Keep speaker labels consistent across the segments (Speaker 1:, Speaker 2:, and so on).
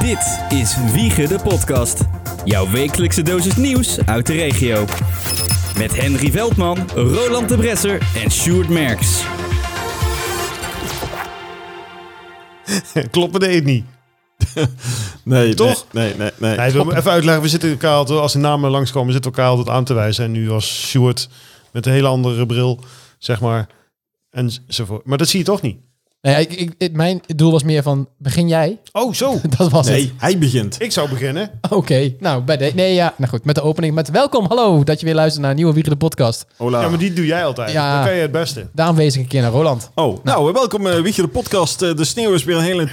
Speaker 1: Dit is Wiegen de Podcast. Jouw wekelijkse dosis nieuws uit de regio. Met Henry Veldman, Roland de Bresser en Sjoerd Merks.
Speaker 2: Kloppen deed het niet.
Speaker 3: Nee,
Speaker 2: Toch?
Speaker 3: Nee, nee, nee.
Speaker 2: Nee, ik wil hem even uitleggen. We zitten elkaar altijd, als de namen langskomen, zitten elkaar altijd aan te wijzen. En nu was Stuart met een hele andere bril, zeg maar. Enzovoort. Maar dat zie je toch niet?
Speaker 4: Nee, Nou ik, ik, ik- mijn doel was meer van, begin jij?
Speaker 2: Oh, zo.
Speaker 4: Dat was
Speaker 3: Nee,
Speaker 4: het.
Speaker 3: hij begint.
Speaker 2: Ik zou beginnen.
Speaker 4: Oké, nou, bij de, nee, ja, nou goed, met de opening. Met welkom, hallo, dat je weer luistert naar een nieuwe Wiegen de podcast.
Speaker 3: Hola.
Speaker 2: Ja, maar die doe jij altijd.
Speaker 4: Ja.
Speaker 2: Dan kan je het beste.
Speaker 4: Daarom wees ik een keer naar Roland.
Speaker 3: Oh, nou, welkom eh Wiegje de podcast. Eh, de sneeuw is weer een hele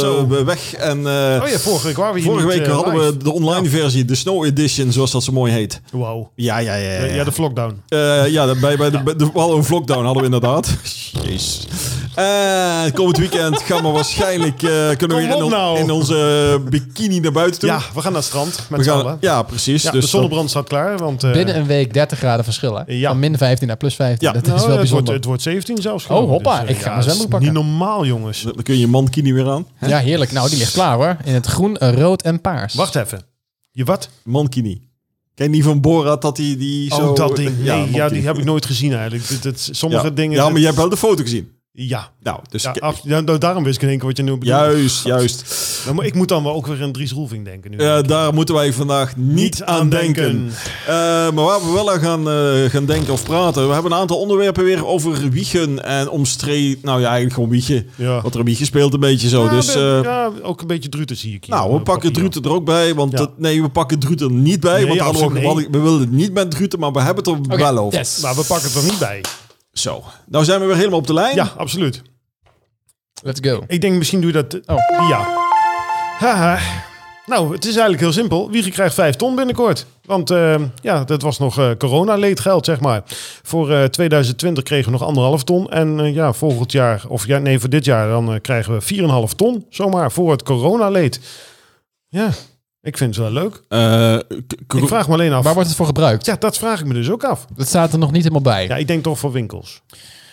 Speaker 2: Zo.
Speaker 3: weg. En, eh,
Speaker 2: Oh ja, vorige week waren we hier
Speaker 3: vorige
Speaker 2: niet,
Speaker 3: week
Speaker 2: eh,
Speaker 3: hadden
Speaker 2: live.
Speaker 3: we de online versie, de Snow Edition, zoals dat zo mooi heet.
Speaker 2: Wauw.
Speaker 3: Ja, ja, ja.
Speaker 2: Ja,
Speaker 3: ja, ja.
Speaker 2: de vlockdown.
Speaker 3: Eh, ja, dat- bij, bij de, bij de wel een vlogdown hadden we inderdaad. Jezus. Eh, komend weekend gaan we waarschijnlijk... eh, kunnen we
Speaker 2: Kom
Speaker 3: weer in,
Speaker 2: op nou.
Speaker 3: in onze bikini naar buiten toe.
Speaker 2: Ja, we gaan naar het strand met
Speaker 3: we
Speaker 2: z'n
Speaker 3: gaan,
Speaker 2: allen. Ja,
Speaker 3: ja dus, eh, precies.
Speaker 2: de
Speaker 3: dan-
Speaker 2: zonnebrand staat klaar. Want, eh,
Speaker 4: Binnen een week 30 graden verschil, hè?
Speaker 2: Ja.
Speaker 4: Van min 15 naar plus 15.
Speaker 3: Ja.
Speaker 4: Dat
Speaker 2: nou,
Speaker 4: is wel
Speaker 2: het, wordt,
Speaker 4: bijzonder.
Speaker 2: het wordt 17 zelfs.
Speaker 4: Oh, hoppa,
Speaker 2: eh,
Speaker 4: ik ga mijn
Speaker 2: dat is
Speaker 4: zwembroek pakken.
Speaker 2: Niet normaal, jongens.
Speaker 3: dan kun je je mankini weer aan.
Speaker 2: eh,
Speaker 4: ja, heerlijk. Nou, die ligt klaar, hoor. In het groen, eh, rood en paars.
Speaker 2: Wacht even. Je wat?
Speaker 3: Mankini. Ken je die van Borat dat die, die zo... eh,
Speaker 2: oh, dat ding. Nee, ja,
Speaker 3: mankini.
Speaker 2: die heb ik nooit gezien eigenlijk. Dit- dit- sommige
Speaker 3: ja.
Speaker 2: dingen...
Speaker 3: Ja, maar
Speaker 2: dat-
Speaker 3: je hebt wel de foto gezien.
Speaker 2: Ja,
Speaker 3: Nou, dus...
Speaker 2: ja, af- ja, nou, daarom wist ik in één keer wat je nu bedoelt.
Speaker 3: juist, juist.
Speaker 2: Nou, maar ik moet dan wel ook weer aan Dries Roelving denken nu.
Speaker 3: Eh, daar moeten wij vandaag niet, aan denken. Eh, maar waar we wel aan gaan, eh, gaan denken of praten... We hebben een aantal onderwerpen weer over wiegen en omstreden... Nou ja, eigenlijk gewoon wiegen.
Speaker 2: Ja.
Speaker 3: Wat er een wiegen speelt een beetje zo.
Speaker 2: Ja,
Speaker 3: dus...
Speaker 2: ben-
Speaker 3: eh,
Speaker 2: ja, ook een beetje Druten zie ik hier.
Speaker 3: Nou, we
Speaker 2: op
Speaker 3: pakken
Speaker 2: papier.
Speaker 3: Druten er ook bij, want
Speaker 2: Ja.
Speaker 3: dat, nee, we pakken Druten er niet bij,
Speaker 2: Nee,
Speaker 3: want hadden we, ook
Speaker 2: absoluut
Speaker 3: wel- we willen het niet met Druten, maar we hebben het er
Speaker 4: Oké,
Speaker 3: wel over.
Speaker 4: yes.
Speaker 2: Maar Nou, we pakken het er niet bij.
Speaker 3: Zo, nou zijn we weer helemaal op de lijn.
Speaker 2: Ja, absoluut.
Speaker 4: Let's go.
Speaker 2: Ik denk misschien doe je dat...
Speaker 4: Oh.
Speaker 2: Ja. Haha. Nou, het is eigenlijk heel simpel. Wiegen krijgt vijf ton binnenkort. Want eh, ja, dat was nog eh corona-leedgeld, zeg maar. Voor eh, 2020 kregen we nog anderhalf ton. En eh, ja, volgend jaar, of ja, nee, voor dit jaar, dan eh, krijgen we 4,5 ton. Zomaar voor het coronaleed. Ja, ik vind het wel leuk.
Speaker 3: Eh, k- k-
Speaker 2: Ik vraag me alleen af.
Speaker 4: Waar wordt het voor gebruikt?
Speaker 2: Ja, dat vraag ik me dus ook af.
Speaker 4: Dat staat er nog niet helemaal bij.
Speaker 2: Ja,
Speaker 4: Ja,
Speaker 2: ik denk toch voor winkels.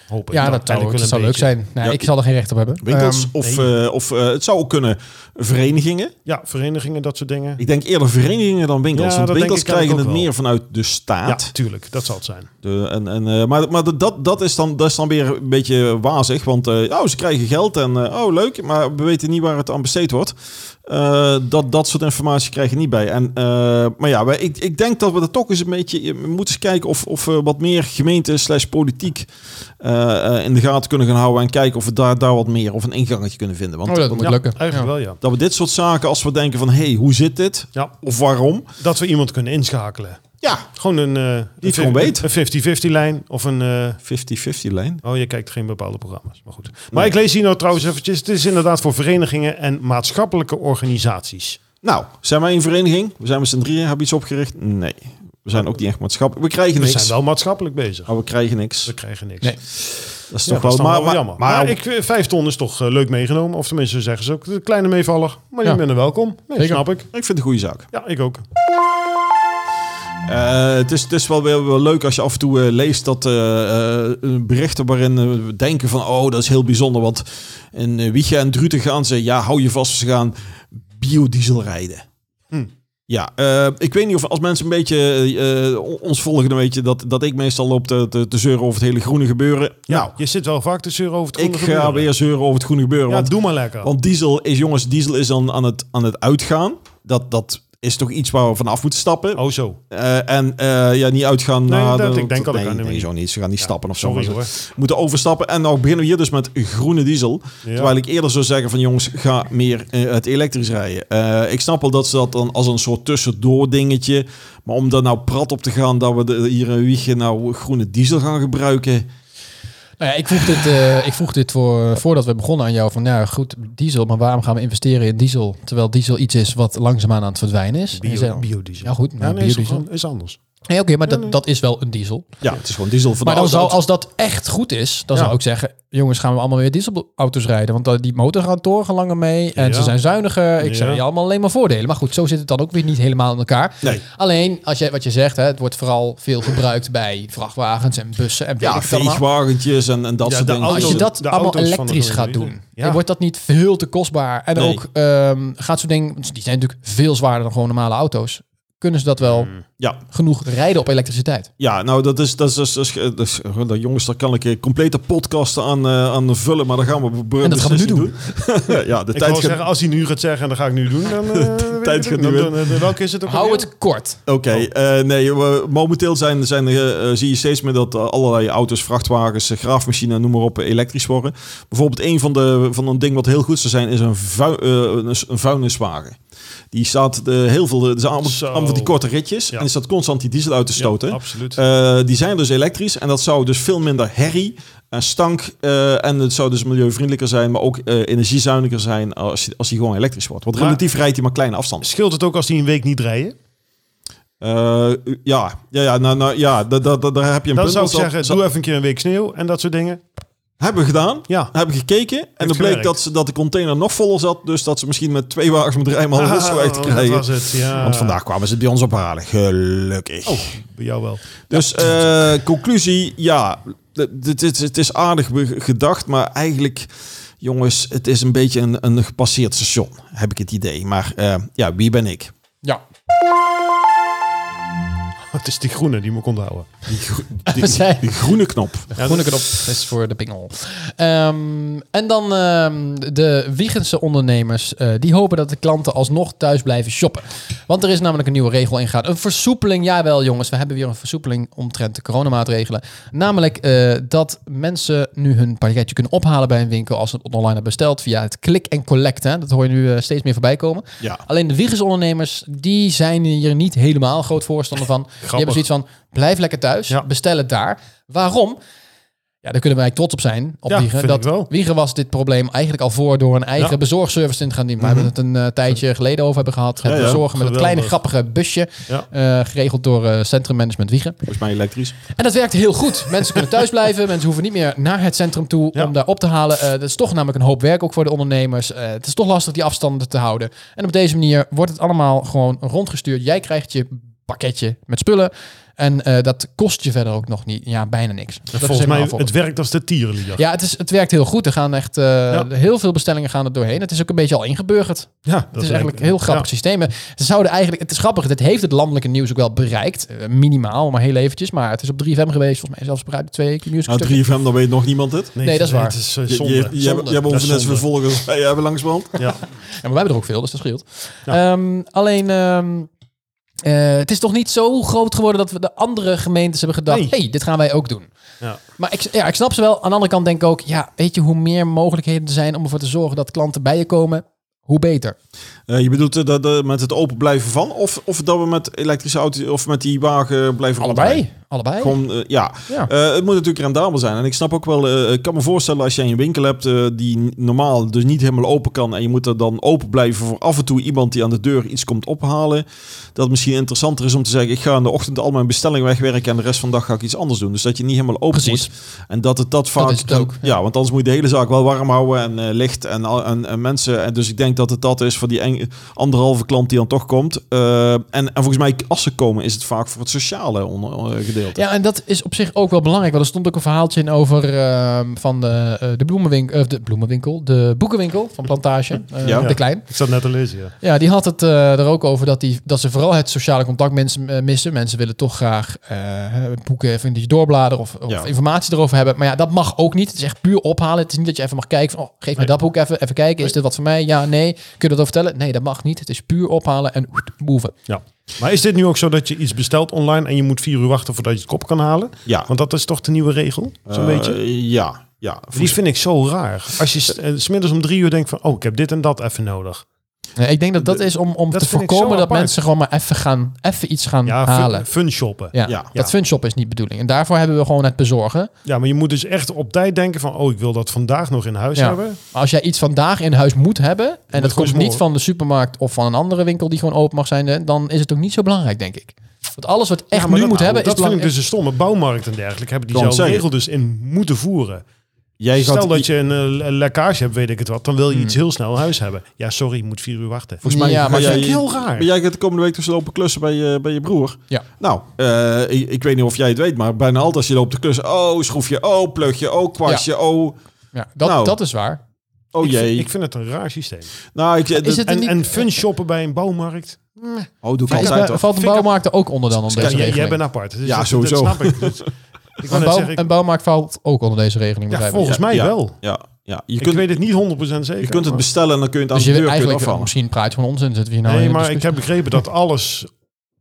Speaker 2: Hoop ik. Nou,
Speaker 4: dat, zou,
Speaker 2: uiteindelijk
Speaker 4: dat zou
Speaker 2: wel
Speaker 4: leuk
Speaker 2: een
Speaker 4: zijn. Nou,
Speaker 3: Ja,
Speaker 4: ik zal er geen recht op hebben.
Speaker 3: winkels
Speaker 4: Ehm,
Speaker 3: of, eh, of eh, het zou ook kunnen verenigingen.
Speaker 2: beetje. Ja, verenigingen, dat soort dingen.
Speaker 3: Ik denk eerder verenigingen dan winkels,
Speaker 2: Ja, dat
Speaker 3: want
Speaker 2: denk
Speaker 3: winkels
Speaker 2: ik eigenlijk
Speaker 3: krijgen het
Speaker 2: ook wel.
Speaker 3: meer vanuit de
Speaker 2: Ja,
Speaker 3: staat.
Speaker 2: tuurlijk. Dat zal het zijn.
Speaker 3: De, en, en, eh, maar maar dat, dat, is dan, dat is dan weer een beetje wazig, want eh, oh, ze krijgen geld en eh, oh leuk, maar we weten niet waar het aan besteed wordt. Eh, dat, dat soort informatie krijg je niet bij. En, eh, maar ja, wij- ik, ik denk dat we dat toch eens een beetje eh, moeten eens kijken of, of eh, wat meer gemeente slash politiek eh, eh, in de gaten kunnen gaan houden en kijken of we daar, daar wat meer of een ingangetje kunnen vinden. Want
Speaker 4: Oh, dat
Speaker 3: want-
Speaker 4: moet
Speaker 2: Ja,
Speaker 4: lukken.
Speaker 2: Eigenlijk
Speaker 4: Ja.
Speaker 2: wel, ja.
Speaker 3: dat we dit soort zaken, als we denken van hé, hey, hoe zit dit?
Speaker 2: Ja,
Speaker 3: Of waarom?
Speaker 2: dat we iemand kunnen inschakelen.
Speaker 3: Ja,
Speaker 2: Gewoon een, eh
Speaker 3: Die het
Speaker 2: een
Speaker 3: gewoon
Speaker 2: fi-
Speaker 3: weet.
Speaker 2: Een 50-50 lijn of een... eh,
Speaker 3: 50-50 lijn.
Speaker 2: Oh, je kijkt geen bepaalde programma's, maar goed. Maar ik lees hier nou trouwens eventjes. Het is inderdaad voor verenigingen en maatschappelijke organisaties.
Speaker 3: Nou, zijn wij een vereniging? We zijn met z'n drieën, hebben iets opgericht? Nee, we zijn ook niet echt maatschappelijk. We krijgen
Speaker 2: We
Speaker 3: niks.
Speaker 2: zijn wel maatschappelijk bezig.
Speaker 3: Maar we krijgen niks.
Speaker 2: We krijgen niks.
Speaker 4: Nee.
Speaker 3: Dat is
Speaker 2: Ja,
Speaker 3: toch
Speaker 2: dat is
Speaker 3: wel,
Speaker 2: dan
Speaker 3: maar,
Speaker 2: wel
Speaker 3: maar,
Speaker 2: jammer.
Speaker 3: maar-
Speaker 2: Maar, ik, eh, vijf ton is toch eh, leuk meegenomen. Of tenminste, zo zeggen ze ook. Een kleine meevaller. Maar je
Speaker 4: Ja.
Speaker 2: bent er welkom. Nee,
Speaker 4: Zeker.
Speaker 2: snap ik.
Speaker 3: ik vind het een goede zaak.
Speaker 2: Ja, ik ook.
Speaker 3: Eh, het, is, het is wel weer wel leuk als je af en toe eh, leest dat eh, eh, berichten waarin eh, we denken van oh, dat is heel bijzonder. Want in eh, Wiegen en Druten gaan ze, ja, hou je vast, ze gaan biodiesel rijden.
Speaker 2: Hm.
Speaker 3: Ja, eh, ik weet niet of als mensen een beetje eh, on- ons volgen, dan weet je dat, dat ik meestal loop te, te, te zeuren over het hele groene gebeuren.
Speaker 2: Ja,
Speaker 3: nou,
Speaker 2: je zit wel vaak te zeuren over het
Speaker 3: ik
Speaker 2: groene
Speaker 3: ga
Speaker 2: gebeuren.
Speaker 3: weer zeuren over het groene gebeuren.
Speaker 2: Ja,
Speaker 3: want
Speaker 2: doe maar lekker.
Speaker 3: Want diesel is, jongens, diesel is dan aan het, aan het uitgaan. Dat, dat is toch iets waar we vanaf moeten stappen.
Speaker 2: oh, zo.
Speaker 3: Eh, en eh, ja, niet uitgaan
Speaker 2: Nee,
Speaker 3: naar...
Speaker 2: dat-
Speaker 3: de-
Speaker 2: ik denk dat ik
Speaker 3: nee,
Speaker 2: aan de
Speaker 3: nee,
Speaker 2: manier-
Speaker 3: zo niet. Ze gaan niet stappen of zo.
Speaker 2: Sorry
Speaker 3: maar
Speaker 2: hoor.
Speaker 3: ze moeten overstappen. En nou beginnen we hier dus met groene diesel.
Speaker 2: Ja.
Speaker 3: Terwijl ik eerder zou zeggen van jongens, ga meer eh, het elektrisch rijden. Eh, ik snap wel dat ze dat dan als een soort tussendoor dingetje. Maar om daar nou prat op te gaan dat we de- hier een wiegje nou groene diesel gaan gebruiken.
Speaker 4: Nou ja, ik vroeg dit, eh, ik vroeg dit voor, voordat we begonnen aan jou. Van nou ja, goed, diesel, maar waarom gaan we investeren in diesel? Terwijl diesel iets is wat langzaamaan aan het verdwijnen is. En je zei
Speaker 2: Bio,
Speaker 4: dan,
Speaker 2: biodiesel.
Speaker 4: Ja, goed, maar
Speaker 2: nee, is,
Speaker 4: biodiesel.
Speaker 2: is anders.
Speaker 4: Nee, oké, maar dat, dat is wel een diesel.
Speaker 3: Ja, het is gewoon diesel voor
Speaker 4: Maar
Speaker 3: de
Speaker 4: dan zou,
Speaker 3: auto's.
Speaker 4: als dat echt goed is, dan
Speaker 2: Ja.
Speaker 4: zou ik zeggen... jongens, gaan we allemaal weer dieselauto's rijden. Want eh, die motor gaan torgen langer mee. En
Speaker 2: Ja.
Speaker 4: ze zijn zuiniger. Ik zou
Speaker 2: Ja.
Speaker 4: je allemaal alleen maar voordelen. Maar goed, zo zit het dan ook weer niet helemaal in elkaar.
Speaker 3: Nee.
Speaker 4: Alleen, als je, wat je zegt, hè, het wordt vooral veel gebruikt bij vrachtwagens en bussen. En weet
Speaker 3: Ja,
Speaker 4: ik veel allemaal.
Speaker 3: veegwagentjes en, en dat
Speaker 2: Ja,
Speaker 3: soort
Speaker 2: de
Speaker 3: dingen.
Speaker 2: auto's-
Speaker 4: Als je dat
Speaker 2: de
Speaker 4: allemaal
Speaker 2: auto's van de
Speaker 4: elektrisch gaat
Speaker 2: Formule
Speaker 4: doen,
Speaker 2: één. Ja.
Speaker 4: dan wordt dat niet veel te kostbaar. En
Speaker 3: Nee.
Speaker 4: ook ehm, gaat zo'n ding, want die zijn natuurlijk veel zwaarder dan gewoon normale auto's. Kunnen ze dat wel
Speaker 3: Mm. Ja,
Speaker 4: genoeg rijden op elektriciteit?
Speaker 3: ja, nou dat is, dat is, dat is, dat is, dat is- dat- jongens, daar kan ik eh, complete podcasten aan, eh, aan vullen, maar dat gaan we, be-
Speaker 4: En dat gaan we nu
Speaker 3: beslissing doen. ja, de
Speaker 2: Ik
Speaker 3: tijd
Speaker 2: wou
Speaker 3: gaat...
Speaker 2: zeggen, als hij nu gaat zeggen, en dat ga ik nu doen, dan... eh, weet ik
Speaker 3: tijd
Speaker 2: het
Speaker 3: gaat
Speaker 2: niet.
Speaker 3: nu
Speaker 2: Dan- dan- dan- Welke is het ook
Speaker 4: Hou
Speaker 2: alweer?
Speaker 4: het kort.
Speaker 3: Oké,
Speaker 2: Oh.
Speaker 3: eh, nee, we- momenteel zijn, zijn, eh, eh, zie je steeds meer dat eh, allerlei auto's, vrachtwagens, eh, graafmachines, noem maar op, eh, elektrisch worden. Bijvoorbeeld een van de van een ding wat heel goed zou zijn, is een, vu eh, een, s- een vuilniswagen. Die staat eh, heel veel, er zijn allemaal,
Speaker 2: Zo.
Speaker 3: allemaal van die korte ritjes
Speaker 2: Ja.
Speaker 3: en die staat constant die diesel uit te
Speaker 2: Ja,
Speaker 3: stoten.
Speaker 2: absoluut.
Speaker 3: Eh, die zijn dus elektrisch en dat zou dus veel minder herrie en stank eh, en het zou dus milieuvriendelijker zijn, maar ook eh, energiezuiniger zijn als, die- als die gewoon elektrisch wordt. Want
Speaker 2: Maar-
Speaker 3: relatief rijdt hij maar kleine afstanden.
Speaker 2: Scheelt het ook als hij een week niet rijden?
Speaker 3: Eh, ja, ja, ja, nou, nou, ja da, da, da- daar heb je een
Speaker 2: Dan
Speaker 3: punt.
Speaker 2: zou ik
Speaker 3: Want dat-
Speaker 2: zeggen,
Speaker 3: dat
Speaker 2: doe even een keer een week sneeuw en dat soort dingen.
Speaker 3: Hebben we gedaan,
Speaker 2: Ja.
Speaker 3: hebben gekeken. En dan bleek
Speaker 2: gewerkt.
Speaker 3: dat, ze, dat de container nog voller zat. Dus dat ze misschien met twee wagens met rijman ah, loswijf te
Speaker 2: Ah, dat was
Speaker 3: krijgen.
Speaker 2: het, ja. Oh,
Speaker 3: Want vandaag kwamen ze het bij ons ophalen. Gelukkig.
Speaker 2: Bij jou wel.
Speaker 3: Dus eh, conclusie, ja. d- dit- dit- Het is aardig be- gedacht, maar eigenlijk... Jongens, het is een beetje een, een gepasseerd station, heb ik het idee. Maar eh, ja, wie ben ik?
Speaker 4: Ja.
Speaker 2: Het is die groene die moet ik onthouden.
Speaker 3: Die, gro- die-
Speaker 4: We zijn-
Speaker 3: die groene knop.
Speaker 4: Groene knop is voor de pingel. Ehm, en dan ehm, de Wiegense ondernemers. eh, die hopen dat de klanten alsnog thuis blijven shoppen. Want er is namelijk een nieuwe regel ingegaan. Een versoepeling, jawel jongens. We hebben weer een versoepeling omtrent de coronamaatregelen. Namelijk eh, dat mensen nu hun pakketje kunnen ophalen bij een winkel... als ze het online hebben besteld via het click en collect. Hè. Dat hoor je nu eh, steeds meer voorbij komen.
Speaker 3: Ja.
Speaker 4: Alleen de Wiegers ondernemers, die zijn hier niet helemaal groot voorstander van. Die hebben zoiets van, blijf lekker thuis,
Speaker 2: Ja.
Speaker 4: bestel het daar. Waarom? Ja, daar kunnen wij trots op zijn, op
Speaker 2: Ja,
Speaker 4: Wiegen.
Speaker 2: vind
Speaker 4: Dat
Speaker 2: ik wel.
Speaker 4: Wiegen was dit probleem eigenlijk al voor door een eigen
Speaker 2: Ja. Mhm.
Speaker 4: bezorgservice in te gaan dienen. We hebben het een eh, tijdje geleden over hebben gehad. Het
Speaker 3: Ja, ja,
Speaker 4: bezorgen met het
Speaker 2: geweldig.
Speaker 4: kleine grappige busje,
Speaker 2: Ja.
Speaker 4: eh, geregeld door eh, Centrum Management Wiegen.
Speaker 3: Volgens mij elektrisch.
Speaker 4: En dat werkt heel goed. Mensen kunnen thuis blijven. Mensen hoeven niet meer naar het centrum toe
Speaker 2: Ja.
Speaker 4: om daar op te halen. Eh, dat is toch namelijk een hoop werk ook voor de ondernemers. Eh, het is toch lastig die afstanden te houden. En op deze manier wordt het allemaal gewoon rondgestuurd. Jij krijgt je pakketje met spullen. En eh, dat kost je verder ook nog niet. Ja, bijna niks. Dat is
Speaker 2: Volgens
Speaker 4: helemaal
Speaker 2: mij,
Speaker 4: afvallen.
Speaker 2: het werkt als de tierenlieder.
Speaker 4: Ja, het, is, het werkt heel goed. Er gaan echt eh, heel veel bestellingen gaan er doorheen. Het is ook een beetje al ingeburgerd.
Speaker 2: Ja,
Speaker 4: Het is eigenlijk een heel grappig systeem. Ze zouden eigenlijk, het is grappig, dit heeft het landelijke nieuws ook wel bereikt. Eh, minimaal, maar heel eventjes. Maar het is op 3FM geweest, volgens mij zelfs bereikt op twee weken nieuws.
Speaker 3: Nou, 3FM, dan weet nog niemand het.
Speaker 4: Nee, dat is waar.
Speaker 2: Het is eh,
Speaker 3: Je,
Speaker 2: zonde.
Speaker 3: je, je,
Speaker 4: Zonde.
Speaker 3: hebt- je hebt
Speaker 2: Dat
Speaker 3: ons
Speaker 2: is
Speaker 3: net
Speaker 2: zonde.
Speaker 3: vervolgens. Hey, hebben langsbrand.
Speaker 2: Ja.
Speaker 4: Ja, maar wij hebben er ook veel, dus dat scheelt. Ehm, alleen, ehm, eh, het is toch niet zo groot geworden dat we de andere gemeentes hebben gedacht...
Speaker 2: Nee.
Speaker 4: hey, dit gaan wij ook doen.
Speaker 2: Ja.
Speaker 4: Maar ik, ja, ik snap ze wel. Aan de andere kant denk ik ook... ja, weet je, hoe meer mogelijkheden er zijn om ervoor te zorgen dat klanten bij je komen... hoe beter.
Speaker 3: Eh, je bedoelt eh, dat, eh, met het open blijven van? Of, of dat we met elektrische auto's of met die wagen blijven rondrijden?
Speaker 4: Allebei. Allebei.
Speaker 3: Gewoon, eh, ja.
Speaker 4: Ja.
Speaker 3: Eh, het moet natuurlijk rendabel zijn. En ik snap ook wel, eh, ik kan me voorstellen als jij een winkel hebt eh, die n- normaal dus niet helemaal open kan. En je moet er dan open blijven voor af en toe iemand die aan de deur iets komt ophalen. Dat het misschien interessanter is om te zeggen, ik ga in de ochtend al mijn bestelling wegwerken. En de rest van de dag ga ik iets anders doen. Dus dat je niet helemaal open
Speaker 4: Precies.
Speaker 3: moet. En dat het dat vaak...
Speaker 4: is het ook,
Speaker 3: Ja, want anders moet je de hele zaak wel warm houden en eh, licht en, al- en, en mensen. En dus ik denk dat het dat is voor die eng- anderhalve klant die dan toch komt. Eh, en, en volgens mij, als ze komen, is het vaak voor het sociale onder, eh, gedeelte.
Speaker 4: Ja, en dat is op zich ook wel belangrijk. Want er stond ook een verhaaltje in over ehm, van de, eh, de bloemenwinkel, de bloemenwinkel, de boekenwinkel van Plantage, eh,
Speaker 3: Ja.
Speaker 4: de Klein.
Speaker 2: Ik zat net te lezen, ja.
Speaker 4: Ja, die had het eh, er ook over dat, die, dat ze vooral het sociale contact mensen eh, missen. Mensen willen toch graag eh, boeken even een beetje doorbladeren of, of
Speaker 3: Ja.
Speaker 4: informatie erover hebben. Maar ja, dat mag ook niet. Het is echt puur ophalen. Het is niet dat je even mag kijken van, oh, geef me dat boek even, even kijken. Is dit wat voor mij? Ja, nee. Kun je dat over vertellen? Nee, dat mag niet. Het is puur ophalen en oet, move.
Speaker 2: ja. Maar is dit nu ook zo dat je iets bestelt online en je moet vier uur wachten voordat je het kop kan halen?
Speaker 3: Ja.
Speaker 2: Want dat is toch de nieuwe regel? Zo'n
Speaker 3: Eh,
Speaker 2: beetje.
Speaker 3: Ja, ja.
Speaker 2: Die vind ik zo raar. Als je s- eh, smiddags om drie uur denkt van, oh, ik heb dit en dat even nodig.
Speaker 4: Nee, ik denk dat dat is om, om
Speaker 2: Dat
Speaker 4: te
Speaker 2: vind ik zo
Speaker 4: voorkomen dat
Speaker 2: apart.
Speaker 4: mensen gewoon maar even, gaan, even iets gaan
Speaker 2: Ja,
Speaker 4: halen.
Speaker 2: fun, fun shoppen.
Speaker 4: Ja,
Speaker 3: Ja.
Speaker 4: dat funshop is niet de bedoeling. En daarvoor hebben we gewoon het bezorgen.
Speaker 2: Ja, maar je moet dus echt op tijd denken van, oh, ik wil dat vandaag nog in huis
Speaker 4: Ja.
Speaker 2: Dus hebben.
Speaker 4: Maar als jij iets vandaag in huis moet hebben... en
Speaker 2: gewoon
Speaker 4: dat komt niet
Speaker 2: morgen.
Speaker 4: van de supermarkt of van een andere winkel die gewoon open mag zijn... dan is het ook niet zo belangrijk, denk ik. Want alles wat echt
Speaker 2: Ja, maar
Speaker 4: nu
Speaker 2: dat-
Speaker 4: moet hebben is
Speaker 2: Dat vind ik
Speaker 4: belangrijk.
Speaker 2: dus een stomme. Bouwmarkt en dergelijke hebben
Speaker 3: Ik wou
Speaker 2: diezelfde
Speaker 3: het
Speaker 2: regel dus in moeten voeren.
Speaker 3: Jij
Speaker 2: Stel
Speaker 3: gaat- Hmm.
Speaker 2: dat je een eh, le- lekkage hebt, weet ik het wat, dan wil je iets heel snel in huis hebben. Ja, sorry, je moet vier uur wachten.
Speaker 3: Volgens mij
Speaker 4: Ja,
Speaker 3: ga
Speaker 4: maar
Speaker 2: Dat
Speaker 3: jij,
Speaker 2: vind ik heel raar.
Speaker 3: Maar jij gaat de komende week dus lopen klussen bij je, bij je broer.
Speaker 4: Ja.
Speaker 3: Nou, eh, ik, ik weet niet of jij het weet, maar bijna altijd als je loopt te klussen... Oh, schroefje, oh, plugje, oh, kwastje, oh,
Speaker 4: Ja, dat,
Speaker 3: Nou.
Speaker 4: dat is waar.
Speaker 3: oh
Speaker 2: Ik vind-
Speaker 3: jee.
Speaker 2: Ik vind het een raar systeem.
Speaker 3: nou, ik,
Speaker 4: Is het
Speaker 2: En,
Speaker 4: niet-
Speaker 2: en fun shoppen bij een bouwmarkt?
Speaker 3: Oh, doe ik
Speaker 4: Maar is-
Speaker 3: altijd
Speaker 4: eh,
Speaker 3: toch.
Speaker 4: valt een
Speaker 2: Vind ik-
Speaker 4: bouwmarkt er ook onder dan onder
Speaker 2: Ja,
Speaker 4: deze
Speaker 2: jij- jij bent
Speaker 4: regeling?
Speaker 2: apart. Dus
Speaker 3: Ja,
Speaker 2: dat-
Speaker 3: sowieso.
Speaker 2: Dat snap ik. Dus ik wou
Speaker 4: Een,
Speaker 2: net
Speaker 4: bouw-
Speaker 2: zeggen, ik-
Speaker 4: een bouwmarkt valt ook onder deze regeling.
Speaker 2: ja,
Speaker 4: begrijp ik.
Speaker 2: volgens mij
Speaker 3: Ja.
Speaker 2: wel.
Speaker 3: Ja, ja. Je,
Speaker 2: Ik
Speaker 3: kunt,
Speaker 2: weet het niet 100% zeker.
Speaker 3: je kunt het
Speaker 2: maar-
Speaker 3: bestellen en dan kun je het aan
Speaker 4: Dus
Speaker 3: de
Speaker 4: je
Speaker 3: deur
Speaker 4: wil
Speaker 3: kunnen
Speaker 4: eigenlijk,
Speaker 3: afvallen.
Speaker 4: misschien praat je gewoon onzin. Zitten we hier nou
Speaker 2: Nee,
Speaker 4: in de
Speaker 2: maar ik
Speaker 4: discussie?
Speaker 2: heb begrepen dat alles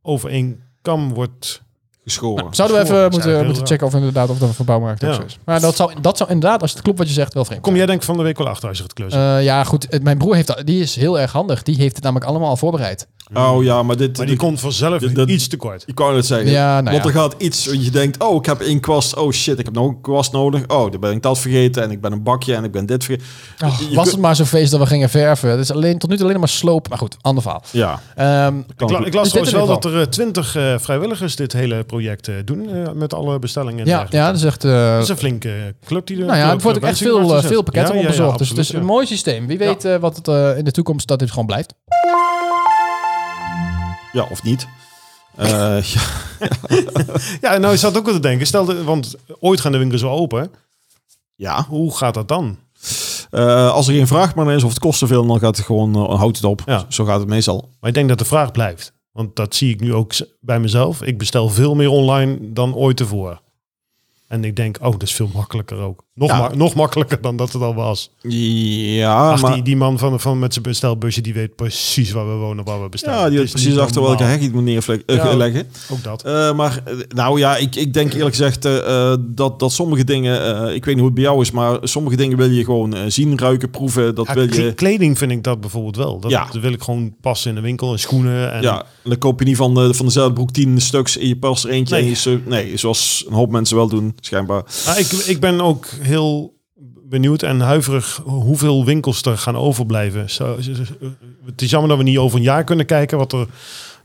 Speaker 2: over één kam wordt...
Speaker 3: Geschoren.
Speaker 4: Zouden we even
Speaker 2: School, dat is
Speaker 4: moeten,
Speaker 2: eigenlijk
Speaker 4: moeten
Speaker 2: heel
Speaker 4: checken of inderdaad of dat een verbouwmarkt ook
Speaker 2: Ja.
Speaker 4: zo is. Maar dat zou, dat zou inderdaad, als het klopt wat je zegt, wel vreemd
Speaker 2: Kom jij
Speaker 4: zijn.
Speaker 2: denk ik van de week wel achter als je gaat klussen?
Speaker 4: Eh, ja, goed. eh, Mijn broer heeft dat, die is heel erg handig. Die heeft het namelijk allemaal al voorbereid.
Speaker 3: Oh ja, maar dit...
Speaker 2: maar die
Speaker 3: dit-
Speaker 2: komt vanzelf
Speaker 3: dat- dat-
Speaker 2: iets te kort.
Speaker 3: ik kan het zeggen.
Speaker 4: Ja, nou
Speaker 3: Want er
Speaker 4: ja.
Speaker 3: gaat iets, je denkt, oh, ik heb één kwast. Oh shit, ik heb nog een kwast nodig. Oh, dan ben ik dat vergeten en ik ben een bakje en ik ben dit vergeten.
Speaker 4: Oh,
Speaker 3: Je
Speaker 4: was
Speaker 3: kun-
Speaker 4: het maar zo'n feest dat we gingen verven. Het is alleen, tot nu toe alleen maar sloop. Maar goed, ander verhaal.
Speaker 3: Ja,
Speaker 4: Ehm,
Speaker 3: kan
Speaker 2: Ik, la- ik las
Speaker 4: Is dit
Speaker 2: trouwens
Speaker 4: in
Speaker 2: wel
Speaker 4: ieder
Speaker 2: dat er eh, twintig vrijwilligers dit hele project eh, doen. eh, met alle bestellingen. en
Speaker 4: ja,
Speaker 2: dergelijke.
Speaker 4: ja, dat is echt... eh,
Speaker 2: Dat is een flinke club die er.
Speaker 4: nou ja, er wordt ook echt veel, eh, veel pakketten
Speaker 2: op
Speaker 4: onderzocht. dus het is een mooi systeem. Wie weet eh, wat het eh, in de toekomst dat dit gewoon blijft.
Speaker 3: ja of niet. Eh, ja.
Speaker 2: Ja, nou, ik zat ook wel te denken. Stel, dat- want ooit gaan de winkels wel open.
Speaker 3: ja.
Speaker 2: Hoe gaat dat dan?
Speaker 3: Eh, als er geen vraag meer naar is of het kost te veel, dan gaat het gewoon, eh, houdt het op.
Speaker 2: Ja.
Speaker 3: Zo gaat het meestal.
Speaker 2: Maar ik denk dat de vraag blijft. Want dat zie ik nu ook z- bij mezelf. Ik bestel veel meer online dan ooit tevoren. En ik denk, oh, dat is veel makkelijker ook. Nog,
Speaker 3: Ja.
Speaker 2: ma- nog makkelijker dan dat het al was.
Speaker 3: Ja,
Speaker 2: Ach,
Speaker 3: maar
Speaker 2: die, die man van, van met zijn bestelbusje, die weet precies waar we wonen, waar we bestellen.
Speaker 3: ja, die
Speaker 2: Het
Speaker 3: weet
Speaker 2: is
Speaker 3: precies
Speaker 2: niet
Speaker 3: achter welke
Speaker 2: normaal.
Speaker 3: hek je het moet neerleggen.
Speaker 2: Ja.
Speaker 3: leggen.
Speaker 2: Ook dat.
Speaker 3: Eh, maar eh, nou ja, ik, ik denk eerlijk gezegd eh, eh, dat, dat sommige dingen, eh, ik weet niet hoe het bij jou is, maar sommige dingen wil je gewoon eh, zien, ruiken, proeven. Dat
Speaker 2: Ja,
Speaker 3: wil
Speaker 2: kle-
Speaker 3: je.
Speaker 2: Kleding vind ik dat bijvoorbeeld wel. Dat,
Speaker 3: Ja.
Speaker 2: dat wil ik gewoon passen in de winkel en schoenen. En,
Speaker 3: Ja, dan koop je niet van, de, van dezelfde broek tien stuks en je past er eentje.
Speaker 2: Nee.
Speaker 3: En je, su- nee, zoals een hoop mensen wel doen, schijnbaar.
Speaker 2: Maar Nou, ik, ik ben ook heel benieuwd en huiverig hoeveel winkels er gaan overblijven. Zo, z- z- het is jammer dat we niet over een jaar kunnen kijken wat er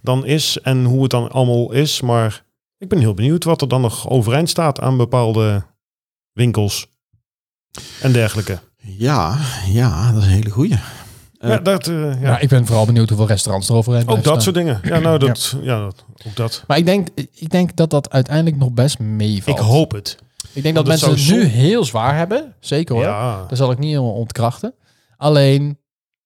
Speaker 2: dan is en hoe het dan allemaal is. Maar ik ben heel benieuwd wat er dan nog overeind staat aan bepaalde winkels en dergelijke.
Speaker 3: Ja, ja, dat is een hele goeie. Eh,
Speaker 2: ja, dat, eh, ja.
Speaker 4: Ja. nou, ik ben vooral benieuwd hoeveel restaurants er overheen
Speaker 2: ook
Speaker 4: blijven
Speaker 2: dat
Speaker 4: staan.
Speaker 2: soort dingen. Ja, nou, dat, ja. dat, ook dat.
Speaker 4: Maar ik denk, ik denk dat dat uiteindelijk nog best meevalt.
Speaker 2: Ik hoop het.
Speaker 4: Ik denk dat
Speaker 2: Want het
Speaker 4: mensen het
Speaker 2: zou
Speaker 4: nu
Speaker 2: zon-
Speaker 4: heel zwaar hebben. Zeker hoor.
Speaker 2: Ja.
Speaker 4: Dat zal ik niet helemaal ontkrachten. Alleen,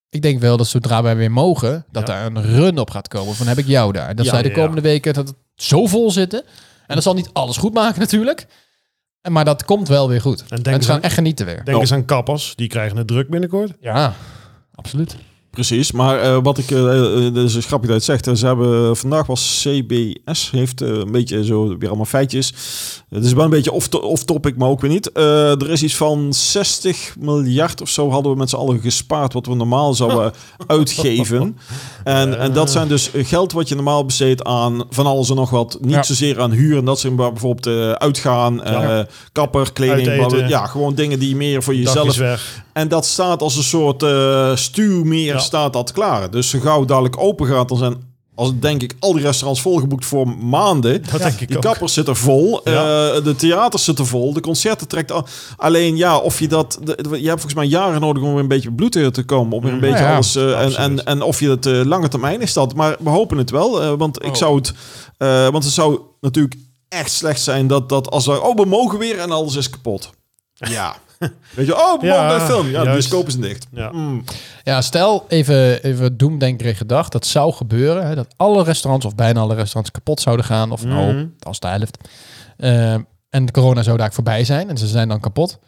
Speaker 4: ik denk wel dat zodra wij weer mogen, dat
Speaker 2: Ja.
Speaker 4: daar een run op gaat komen. Van heb ik jou daar. Dat
Speaker 2: Ja,
Speaker 4: zij de
Speaker 2: ja,
Speaker 4: komende weken dat het zo vol zitten. En dat zal niet alles goed maken natuurlijk. En- Maar dat komt wel weer goed.
Speaker 2: En
Speaker 4: En
Speaker 2: denk,
Speaker 4: ze gaan
Speaker 2: eens,
Speaker 4: echt genieten weer.
Speaker 2: denk eens aan kappers. Die krijgen het druk binnenkort.
Speaker 4: Ja, absoluut.
Speaker 3: Precies, maar eh, wat ik, eh eh, dat is een grapje dat je het zegt, ze hebben, eh, vandaag was CBS, heeft eh, een beetje zo weer allemaal feitjes. Het is wel een beetje off- off-topic, maar ook weer niet. Eh, er is iets van 60 miljard of zo hadden we met z'n allen gespaard, wat we normaal zouden uitgeven. En, en dat zijn dus geld wat je normaal besteedt aan van alles en nog wat. Niet
Speaker 4: Ja.
Speaker 3: zozeer aan huur en dat zijn waar bijvoorbeeld eh, uitgaan, eh,
Speaker 2: Ja.
Speaker 3: kapper, kleding,
Speaker 2: Uiteten.
Speaker 3: bla- bla- ja, gewoon dingen die je meer voor
Speaker 2: Dag
Speaker 3: jezelf
Speaker 2: is weg.
Speaker 3: en dat staat als een soort eh stuwmeer
Speaker 2: Ja.
Speaker 3: staat dat klaar. Dus zo gauw dadelijk open gaat, dan zijn als denk ik al die restaurants volgeboekt voor maanden.
Speaker 2: Dat denk ik
Speaker 3: Die
Speaker 2: ook.
Speaker 3: kappers zitten vol,
Speaker 2: Ja.
Speaker 3: eh, de theaters zitten vol, de concerten trekt al. Alleen ja, of je dat, de- je hebt volgens mij jaren nodig om weer een beetje bloed eh, te komen, om weer een
Speaker 2: Mm.
Speaker 3: beetje
Speaker 4: Ja,
Speaker 3: alles. eh, en,
Speaker 2: absoluut.
Speaker 3: en, en of je het eh, lange termijn is dat, maar we hopen het wel, eh, want
Speaker 2: Oh.
Speaker 3: ik zou het, eh, want het zou natuurlijk echt slecht zijn dat dat als we oh we mogen weer en alles is kapot. Ja. Weet je, oh, we
Speaker 2: Ja,
Speaker 3: mogen bij een film. Ja, de
Speaker 2: juist.
Speaker 3: bioscoop is dicht.
Speaker 2: Ja.
Speaker 3: Mm.
Speaker 4: Ja, stel even, even doemdenkerig gedacht. Dat zou gebeuren. Hè, dat alle restaurants of bijna alle restaurants kapot zouden gaan. Of nou,
Speaker 2: Mhm.
Speaker 4: als de helft. Ehm, en de corona zou daar voorbij zijn. En ze zijn dan kapot.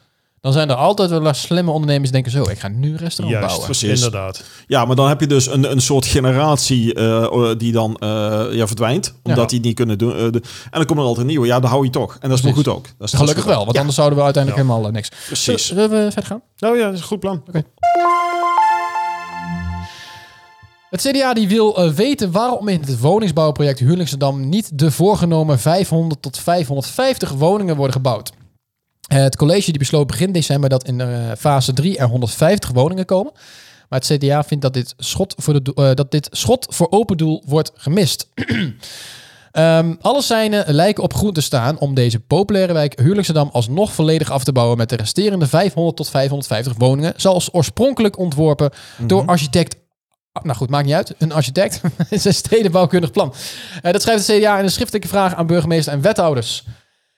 Speaker 4: Dan zijn er altijd wel slimme ondernemers die denken zo. Ik ga nu een restaurant
Speaker 2: Juist,
Speaker 4: bouwen.
Speaker 3: Precies.
Speaker 2: inderdaad.
Speaker 3: Ja, maar dan heb je dus een, een soort generatie eh, die dan eh, ja, verdwijnt. Omdat
Speaker 4: Ja.
Speaker 3: die het niet kunnen doen. eh, de- en dan komt er altijd een nieuwe. Ja, dan hou je toch. En dat is maar goed
Speaker 4: Precies.
Speaker 3: ook. Dat is- dat is goed
Speaker 4: Gelukkig
Speaker 3: ook.
Speaker 4: wel, want
Speaker 3: Ja,
Speaker 4: anders zouden we uiteindelijk helemaal eh, niks.
Speaker 3: precies.
Speaker 4: Zullen we verder gaan?
Speaker 2: Nou ja, dat is een goed plan.
Speaker 4: Het CDA die wil eh, weten waarom in het woningsbouwproject Huurlingsedam niet de voorgenomen 500 tot 550 woningen worden gebouwd. Eh, Het college die besloot begin december dat in eh, fase 3 er 150 woningen komen. Maar het CDA vindt dat dit schot voor, de doel- eh, dat dit schot voor open doel wordt gemist. Ehm, alle seinen lijken op groen te staan om deze populaire wijk Huurlijksedam alsnog volledig af te bouwen met de resterende 500 tot 550 woningen, zoals oorspronkelijk ontworpen door architect. Ah, Nou goed, maakt niet uit. Een architect. Het is een stedenbouwkundig plan. Eh, dat schrijft het CDA in een schriftelijke vraag aan burgemeester en wethouders.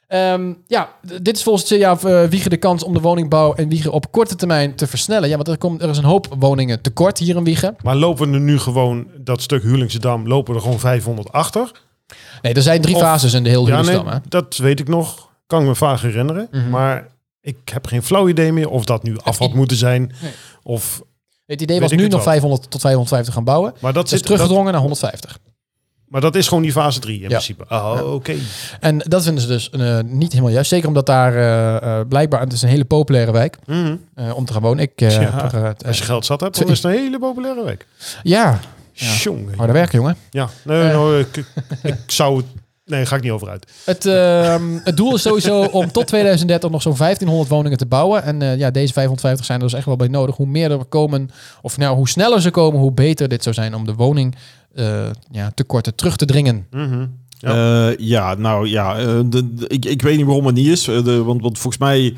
Speaker 4: Ehm, ja, d- dit is volgens het CDA eh, Wiegen de kans om de woningbouw en Wiegen op korte termijn te versnellen. Ja, want er, komt, er is een hoop woningen tekort hier in Wiegen.
Speaker 2: Maar lopen er nu gewoon dat stuk Huurlingsedam, lopen er gewoon 500 achter?
Speaker 4: Nee, er zijn drie
Speaker 2: Of-
Speaker 4: fases in de hele
Speaker 2: Ja,
Speaker 4: Huurlijksedam.
Speaker 2: nee,
Speaker 4: hè?
Speaker 2: dat weet ik nog. Kan ik me vaag herinneren.
Speaker 4: Mhm.
Speaker 2: Maar ik heb geen flauw idee meer of dat nu af had moeten zijn.
Speaker 4: Nee.
Speaker 2: Of,
Speaker 4: Het idee
Speaker 2: Weet
Speaker 4: was
Speaker 2: ik
Speaker 4: nu
Speaker 2: het
Speaker 4: nog
Speaker 2: wel.
Speaker 4: 500 tot 550 gaan bouwen.
Speaker 2: maar, dat
Speaker 4: Het is
Speaker 2: zit, dat,
Speaker 4: teruggedrongen naar 150.
Speaker 2: maar dat is gewoon die fase 3 in
Speaker 4: Ja.
Speaker 2: principe. Oh, oké.
Speaker 4: En dat vinden ze dus eh, niet helemaal juist. Zeker omdat daar eh, eh, blijkbaar... Het is een hele populaire wijk
Speaker 2: Mhm.
Speaker 4: eh, om te gaan wonen. Ik, eh,
Speaker 2: Ja.
Speaker 4: heb er, eh,
Speaker 2: Als je geld zat hebt, dan is het een hele populaire week.
Speaker 4: ja, Ja.
Speaker 2: Jongen.
Speaker 4: harde werken, jongen.
Speaker 2: Ja, nee,
Speaker 4: Eh.
Speaker 2: nou, ik, ik zou het... Nee, ga ik niet over uit.
Speaker 4: Het, ehm, het doel is sowieso om tot 2030 nog zo'n 1500 woningen te bouwen. En eh, ja, deze 550 zijn er dus echt wel bij nodig. Hoe meer er komen, of nou, hoe sneller ze komen, hoe beter dit zou zijn om de woning eh, ja, tekorten terug te dringen.
Speaker 2: Mhm.
Speaker 3: Ja, ja nou ja, eh, de, de- ik, ik weet niet waarom het niet is. eh, de, want, want volgens mij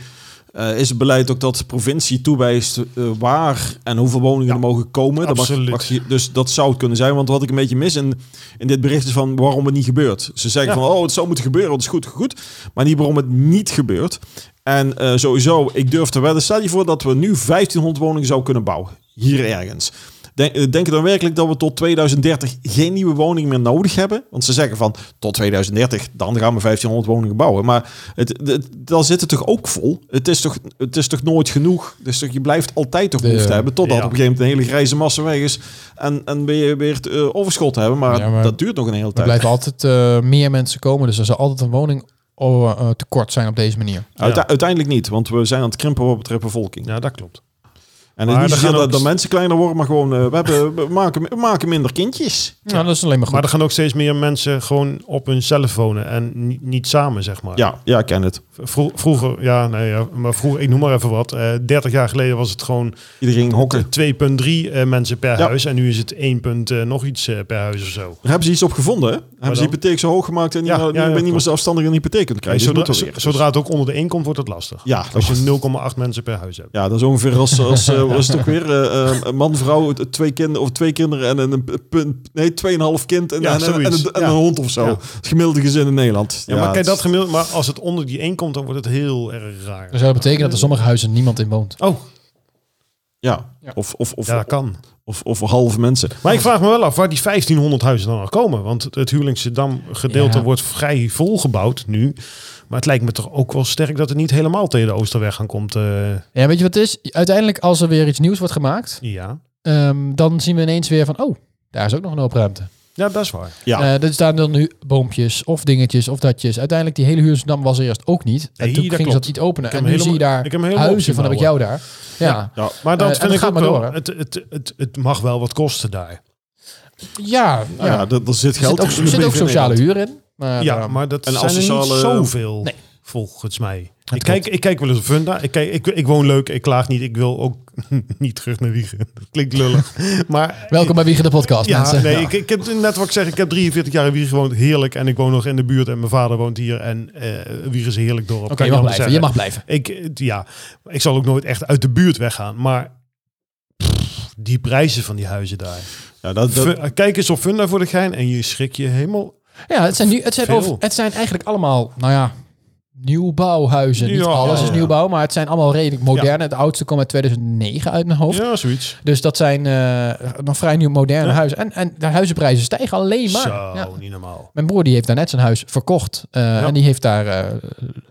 Speaker 3: eh, is het beleid ook dat de provincie toewijst eh, waar en hoeveel woningen er mogen komen. Dat
Speaker 2: absoluut.
Speaker 3: je- dus dat zou het kunnen zijn. Want wat ik een beetje mis in, in dit bericht is van waarom het niet gebeurt. Ze zeggen
Speaker 2: Ja.
Speaker 3: van, oh, het zou moeten gebeuren, want het is goed, goed. Maar niet waarom het niet gebeurt. En eh, sowieso, ik durf te wedden, stel je voor dat we nu 1500 woningen zouden kunnen bouwen. Hier ergens. Denk, eh, denk je dan werkelijk dat we tot 2030 geen nieuwe woning meer nodig hebben? Want ze zeggen van tot 2030, dan gaan we 1500 woningen bouwen. Maar het, het, dan zit het toch ook vol? Het is toch, het is toch nooit genoeg? Dus toch, je blijft altijd toch
Speaker 4: Ja.
Speaker 3: behoefte hebben. Totdat
Speaker 2: Ja.
Speaker 3: op een gegeven moment een hele grijze massa weg is. En, en weer, weer het eh, overschot hebben. Maar,
Speaker 4: Ja, maar
Speaker 3: dat duurt nog een hele
Speaker 4: Er
Speaker 3: tijd.
Speaker 4: blijven altijd eh, meer mensen komen, dus er zal altijd een woning oh, eh, tekort zijn op deze manier.
Speaker 3: Uite-
Speaker 2: Ja.
Speaker 3: Uiteindelijk niet, want we zijn aan het krimpen wat betreft bevolking.
Speaker 2: Ja, dat klopt.
Speaker 3: En
Speaker 2: Maar
Speaker 3: het is niet
Speaker 2: er
Speaker 3: zozeer
Speaker 2: gaan
Speaker 3: dat,
Speaker 2: ook-
Speaker 3: dat mensen kleiner worden, maar gewoon eh, we, hebben, we, maken, we maken minder kindjes.
Speaker 4: Nou, dat is alleen maar goed.
Speaker 2: Maar er gaan ook steeds meer mensen gewoon op hunzelf wonen en ni- niet samen, zeg maar.
Speaker 3: Ja, ja, ik ken het.
Speaker 2: Vro- vroeger, ja, nee, ja, maar vroeger, ik noem maar even wat. eh 30 jaar geleden was het gewoon
Speaker 3: Iedereen ging hokken.
Speaker 2: 2,3 eh, mensen per
Speaker 3: Ja.
Speaker 2: huis. En nu is het 1, punt, eh, nog iets eh, per huis of zo.
Speaker 3: Daar hebben ze iets op gevonden. hè? Hebben ze de
Speaker 2: dan?
Speaker 3: hypotheek zo hoog gemaakt en
Speaker 2: Ja,
Speaker 3: ja,
Speaker 2: ja, ja,
Speaker 3: niet meer
Speaker 2: klopt.
Speaker 3: zelfstandig een hypotheek kunt krijgen. Dus
Speaker 2: zodra,
Speaker 3: moeten we weer.
Speaker 2: zodra het ook onder de 1 komt, wordt het lastig.
Speaker 3: Ja, dat
Speaker 2: Als
Speaker 3: was-
Speaker 2: je 0,8 mensen per huis hebt.
Speaker 3: ja, dat is ongeveer als, als eh, was het ook weer eh, eh, een man, vrouw, t- twee kinderen of twee kinderen en een een punt, nee, tweeënhalf kind en,
Speaker 2: Ja,
Speaker 3: en, en, en,
Speaker 2: zoiets.
Speaker 3: een- en
Speaker 2: Ja.
Speaker 3: een hond of zo.
Speaker 2: Ja.
Speaker 3: Het gemiddelde gezin in Nederland.
Speaker 2: Ja, maar
Speaker 3: het
Speaker 2: kijk, dat
Speaker 3: is-
Speaker 2: gemiddeld, maar als het onder die 1 komt, dan wordt het heel erg raar.
Speaker 4: Dus dat betekent dat er sommige huizen niemand in woont.
Speaker 2: Oh,
Speaker 3: ja.
Speaker 4: Ja.
Speaker 3: Of, of, of,
Speaker 2: ja, dat kan.
Speaker 3: of, of halve mensen.
Speaker 2: Maar ik vraag me wel af waar die 1500 huizen dan nog komen. Want het Huurlingsedam gedeelte
Speaker 4: Ja.
Speaker 2: wordt vrij volgebouwd nu. Maar het lijkt me toch ook wel sterk dat het niet helemaal tegen de Oosterweg aan komt. eh,
Speaker 4: Ja, weet je wat het is? Uiteindelijk, als er weer iets nieuws wordt gemaakt,
Speaker 2: ja.
Speaker 4: ehm, dan zien we ineens weer van, oh, daar is ook nog een hoop ruimte.
Speaker 2: ja, dat is waar.
Speaker 3: Ja.
Speaker 4: Eh, er staan dan nu boompjes of dingetjes of datjes. Uiteindelijk, die hele Huursdam was er eerst ook niet. en
Speaker 2: Nee,
Speaker 4: toen
Speaker 2: dat
Speaker 4: gingen ze
Speaker 2: klopt.
Speaker 4: dat iets openen.
Speaker 2: Ik heb
Speaker 4: En nu
Speaker 2: helemaal-
Speaker 4: zie je daar
Speaker 2: ik heb hem helemaal
Speaker 4: huizen van, heb ik
Speaker 2: opzien
Speaker 4: jou daar. Ja, ja.
Speaker 3: Ja.
Speaker 2: Maar dat
Speaker 4: Eh, en
Speaker 2: vind
Speaker 4: dat
Speaker 2: ik
Speaker 4: gaat
Speaker 2: ook
Speaker 4: maar
Speaker 2: wel.
Speaker 4: door, hè?
Speaker 2: het, het, het, het mag wel wat kosten daar.
Speaker 4: ja,
Speaker 3: Nou ja, dat er zit
Speaker 4: Er zit
Speaker 3: geld
Speaker 4: ook,
Speaker 3: in de
Speaker 4: er zit ook
Speaker 3: brief in
Speaker 4: sociale
Speaker 3: Nederland.
Speaker 4: huur in. Maar,
Speaker 2: ja,
Speaker 4: ehm,
Speaker 2: maar dat
Speaker 3: en
Speaker 2: zijn er
Speaker 3: asociale-
Speaker 2: niet zoveel,
Speaker 4: Nee.
Speaker 2: volgens mij. Ik kijk, ik kijk wel eens op Funda. Ik, kijk, ik, ik woon leuk, ik klaag niet. Ik wil ook niet terug naar Wiegen. Dat klinkt lullig. Maar
Speaker 4: welkom bij Wiegen de podcast,
Speaker 2: Ja,
Speaker 4: mensen.
Speaker 2: nee,
Speaker 4: Ja.
Speaker 2: Ik, ik heb net wat ik zeg, ik heb 43 jaar in Wiegen gewoond, heerlijk. En ik woon nog in de buurt en mijn vader woont hier. En eh Wiegen is een heerlijk dorp.
Speaker 4: Oké,
Speaker 2: kan
Speaker 4: je
Speaker 2: niet
Speaker 4: mag
Speaker 2: anders
Speaker 4: blijven. Je
Speaker 2: zeggen.
Speaker 4: mag blijven.
Speaker 2: Ik, eh, ja, ik zal ook nooit echt uit de buurt weggaan, maar pff, die prijzen van die huizen daar.
Speaker 3: Ja, dat, dat,
Speaker 2: Fu- Kijk eens op Funda voor de gein en je schrik je helemaal.
Speaker 4: Ja, het zijn, nu, het, zijn
Speaker 2: Veel.
Speaker 4: over, het zijn eigenlijk allemaal, nou ja, nieuwbouwhuizen. Niet
Speaker 2: Ja,
Speaker 4: alles
Speaker 2: ja,
Speaker 4: is
Speaker 2: ja.
Speaker 4: nieuwbouw, maar het zijn allemaal redelijk moderne. Het oudste kwam uit 2009 uit mijn hoofd.
Speaker 2: Ja, zoiets.
Speaker 4: Dus dat zijn eh, nog vrij nieuw moderne huizen. En, en de huizenprijzen stijgen alleen maar.
Speaker 2: Zo,
Speaker 4: Ja.
Speaker 2: niet normaal.
Speaker 4: Mijn broer die heeft daar net zijn huis verkocht. eh, En die heeft daar eh,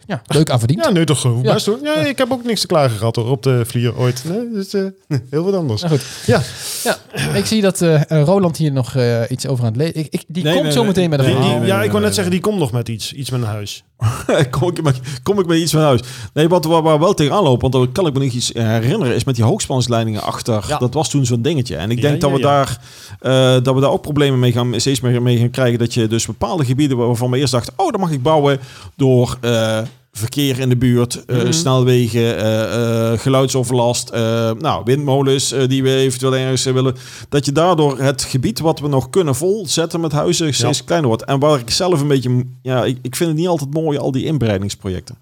Speaker 4: ja, leuk aan verdiend.
Speaker 2: Ja, nee, toch gewoon
Speaker 4: Ja.
Speaker 2: best hoor. Ja, ik heb ook niks te klagen gehad hoor, op de vlier ooit. Nee, dus, eh, heel wat anders.
Speaker 4: Nou goed,
Speaker 2: Ja,
Speaker 4: ja, ik zie dat eh, Roland hier nog eh, iets over aan het lezen. Ik, ik, die
Speaker 3: Nee,
Speaker 4: komt
Speaker 3: nee,
Speaker 4: zo
Speaker 3: nee.
Speaker 4: meteen met een
Speaker 3: Nee,
Speaker 2: die- die-
Speaker 4: verhaal.
Speaker 3: nee,
Speaker 2: ja,
Speaker 3: nee,
Speaker 2: ik wil
Speaker 3: nee.
Speaker 2: net zeggen, die komt nog met iets. Iets met een huis.
Speaker 3: kom, ik met, kom ik met iets van huis. Nee, wat waar, waar wel tegenaan loopt, want dat kan ik me nog iets herinneren, is met die hoogspanningsleidingen achter.
Speaker 4: Ja.
Speaker 3: Dat was toen zo'n dingetje. En ik
Speaker 2: Ja,
Speaker 3: denk dat,
Speaker 2: ja,
Speaker 3: we
Speaker 2: ja.
Speaker 3: Daar, eh, dat we daar ook problemen mee gaan, steeds meer mee gaan krijgen. Dat je dus bepaalde gebieden waarvan we eerst dachten, oh, dat mag ik bouwen door... eh, verkeer in de buurt, eh, snelwegen, eh, eh, geluidsoverlast, eh, nou, windmolens eh, die we eventueel ergens eh, willen. Dat je daardoor het gebied wat we nog kunnen volzetten met huizen steeds kleiner wordt. En waar ik zelf een beetje, ja, ik, ik vind het niet altijd mooi, al die inbreidingsprojecten.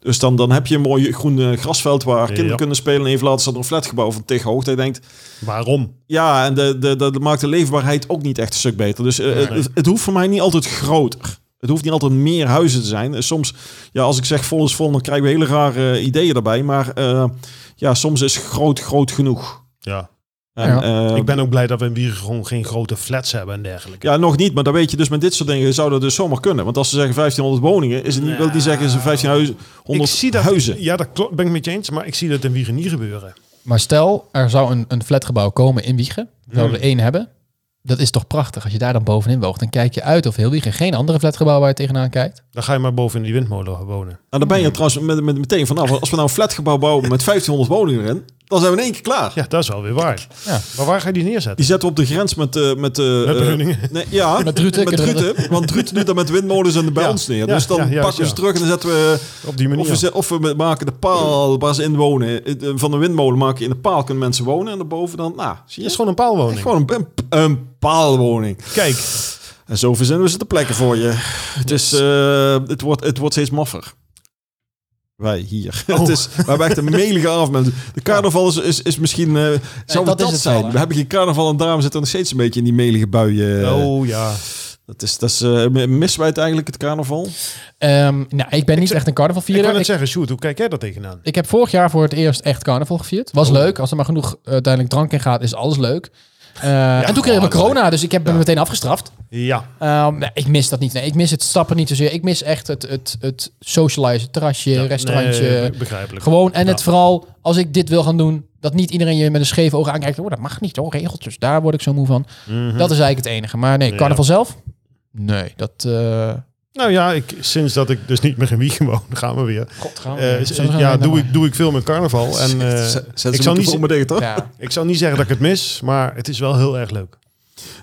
Speaker 3: Dus dan, dan heb je een mooi groen eh, grasveld waar kinderen
Speaker 2: Ja.
Speaker 3: kunnen spelen. En even later staat er een flatgebouw van tig hoogte. Je denkt,
Speaker 2: Waarom?
Speaker 3: ja, en de, de, de, de maakt de leefbaarheid ook niet echt een stuk beter. Dus eh, het, het hoeft voor mij niet altijd groter. Het hoeft niet altijd meer huizen te zijn. Eh, Soms, ja, als ik zeg vol is vol, dan krijgen we hele rare eh, ideeën daarbij. Maar eh, ja, soms is groot groot genoeg.
Speaker 2: Ja.
Speaker 3: En,
Speaker 4: Ja.
Speaker 3: eh,
Speaker 2: ik ben ook blij dat we in Wiergen gewoon geen grote flats hebben en dergelijke.
Speaker 3: ja, nog niet, maar dan weet je dus met dit soort dingen zou dat dus zomaar kunnen. Want als ze zeggen 1500 woningen, is het niet, wil die zeggen ze 1500
Speaker 2: ik zie dat,
Speaker 3: huizen.
Speaker 2: Ja, dat klopt, ben ik met je eens. Maar ik zie dat in Wiergen niet gebeuren.
Speaker 4: Maar stel, er zou een, een flatgebouw komen in Wiegen. We
Speaker 2: Hmm.
Speaker 4: zouden er één hebben. Dat is toch prachtig. Als je daar dan bovenin woont, dan kijk je uit of heel Wiegen geen andere flatgebouw waar je tegenaan kijkt.
Speaker 2: Dan ga je maar boven in die windmolen wonen.
Speaker 3: Nou, dan ben je trouwens met, met, meteen vanaf. Als we nou een flatgebouw bouwen met 1500 woningen erin, dan zijn we in één keer klaar.
Speaker 2: Ja, dat is wel weer waar.
Speaker 4: Ja.
Speaker 2: Maar waar ga je die neerzetten?
Speaker 3: Die zetten we op de grens met... eh met, eh, eh,
Speaker 2: Beuningen.
Speaker 3: nee, ja,
Speaker 4: Met Druten.
Speaker 3: Met Druten, want Druten doet dat met windmolens en de bij
Speaker 2: Ja,
Speaker 3: ons
Speaker 2: ja,
Speaker 3: neer. Dus dan
Speaker 2: ja, juist,
Speaker 3: pakken we ze
Speaker 2: ja.
Speaker 3: terug en dan zetten we...
Speaker 2: Op die manier.
Speaker 3: Of we, zet- of we maken de paal waar ze in wonen. eh, eh, Van de windmolen maken in de paal kunnen mensen wonen. En daarboven dan, nou, zie
Speaker 2: Het
Speaker 3: je.
Speaker 2: is gewoon een paalwoning.
Speaker 3: Gewoon een, een, een paalwoning.
Speaker 2: Kijk,
Speaker 3: En zo verzinnen we ze de plekken voor je. Het, is, eh, het, wordt, het wordt steeds maffer. Wij hier. Het
Speaker 4: Oh.
Speaker 3: is, we hebben echt een melige avond. mensen. De carnaval is, is, is misschien... eh, zou dat, dat
Speaker 4: dat is het wel,
Speaker 3: zijn?
Speaker 4: hè?
Speaker 3: we hebben geen carnaval en daarom zitten we nog steeds een beetje in die melige buien.
Speaker 4: Nou.
Speaker 2: oh ja.
Speaker 3: Dat is, dat is eh, missen wij het eigenlijk, het carnaval?
Speaker 4: Ehm, nou, ik ben niet echt een
Speaker 2: Ik kan
Speaker 4: carnavalvierder.
Speaker 2: het
Speaker 4: Ik,
Speaker 2: zeggen, Sjoerd, hoe kijk jij daar tegenaan?
Speaker 4: ik heb vorig jaar voor het eerst echt carnaval gevierd.
Speaker 2: Oh.
Speaker 4: Was leuk. Als er maar genoeg eh, uiteindelijk drank in gaat, is alles leuk. Eh, en toen kregen we corona, dus ik heb me meteen afgestraft.
Speaker 2: Ja,
Speaker 4: Ehm, nee, ik mis dat niet. Nee, ik mis het stappen niet zozeer. Ik mis echt het, het, het socializen, terrasje,
Speaker 2: Ja,
Speaker 4: restaurantje.
Speaker 2: nee, begrijpelijk.
Speaker 4: Gewoon, en het
Speaker 2: Ja.
Speaker 4: vooral, als ik dit wil gaan doen, dat niet iedereen je met een scheef oog aankijkt. Oh, dat mag niet, hoor. Regeltjes, daar word ik zo moe van.
Speaker 2: Mhm.
Speaker 4: Dat is eigenlijk het enige. Maar nee, carnaval zelf? Nee, dat... eh
Speaker 2: Nou ja, ik, sinds dat ik dus niet meer in Wiegen woon, gaan we weer.
Speaker 4: God, gaan we-
Speaker 2: Eh,
Speaker 4: Oh, zullen we
Speaker 2: z-
Speaker 4: gaan
Speaker 2: ja,
Speaker 4: weer
Speaker 2: doe
Speaker 4: naar-
Speaker 2: ik, doe ik veel met carnaval. En, eh, ik, zal niet,
Speaker 3: om
Speaker 2: z-
Speaker 3: tegen, toch?
Speaker 4: Ja.
Speaker 2: ik zal niet zeggen dat ik het mis, maar het is wel heel erg leuk.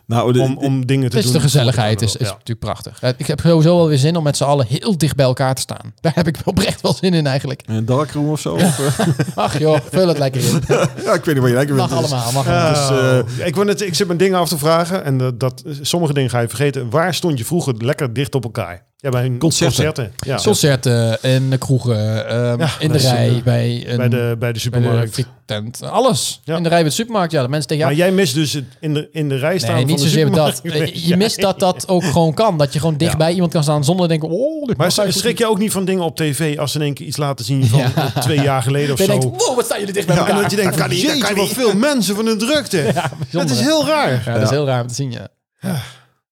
Speaker 3: Nou, de-
Speaker 2: Om, om dingen te
Speaker 4: Het is
Speaker 2: doen.
Speaker 4: de gezelligheid, is, is
Speaker 2: Ja.
Speaker 4: natuurlijk prachtig. Eh, Ik heb sowieso wel weer zin om met z'n allen heel dicht bij elkaar te staan. Daar heb ik oprecht wel zin in eigenlijk.
Speaker 3: een darkroom of zo. of, eh,
Speaker 4: Ach joh, vul het lekker in.
Speaker 3: ja, ik weet niet wat je lekker
Speaker 4: Mag
Speaker 3: vindt.
Speaker 4: allemaal, mag allemaal.
Speaker 2: Ja,
Speaker 3: Dus, eh,
Speaker 2: ja, ik, wou net, ik zit mijn dingen af te vragen en dat, dat, sommige dingen ga je vergeten. Waar stond je vroeger lekker dicht op elkaar? Ja, bij een
Speaker 3: Concerten.
Speaker 2: Ja.
Speaker 4: Concerten en de kroegen, ehm,
Speaker 2: Ja,
Speaker 4: in de
Speaker 2: dat is,
Speaker 4: rij,
Speaker 2: eh,
Speaker 4: bij, een,
Speaker 2: bij, de, bij de
Speaker 4: bij de
Speaker 2: supermarkt.
Speaker 4: frietent. Alles.
Speaker 2: Ja.
Speaker 4: In de rij bij de supermarkt. Ja, de mensen tegen
Speaker 2: Maar
Speaker 4: jou.
Speaker 2: jij mist dus het in de, in de rij staan
Speaker 4: nee,
Speaker 2: van
Speaker 4: niet
Speaker 2: de
Speaker 4: zozeer dat.
Speaker 2: supermarkt.
Speaker 4: Eh, Je mist dat dat ook gewoon kan. Dat je gewoon dichtbij iemand kan staan zonder te denken... Oh,
Speaker 2: Maar
Speaker 4: dit mag
Speaker 2: schrik
Speaker 4: eigenlijk
Speaker 2: schrik je ook niet van dingen op tv als ze in één keer iets laten zien van eh, twee jaar geleden of
Speaker 4: niet. Dan
Speaker 2: zo?
Speaker 4: je denkt, wow, wat staan jullie dicht bij
Speaker 2: Ja, en
Speaker 4: elkaar.
Speaker 2: dat je denkt, van, jeetje, wat veel mensen van hun drukte. dat is
Speaker 4: bijzonder, hè?
Speaker 2: heel raar.
Speaker 4: Ja, dat is heel raar om te zien, ja.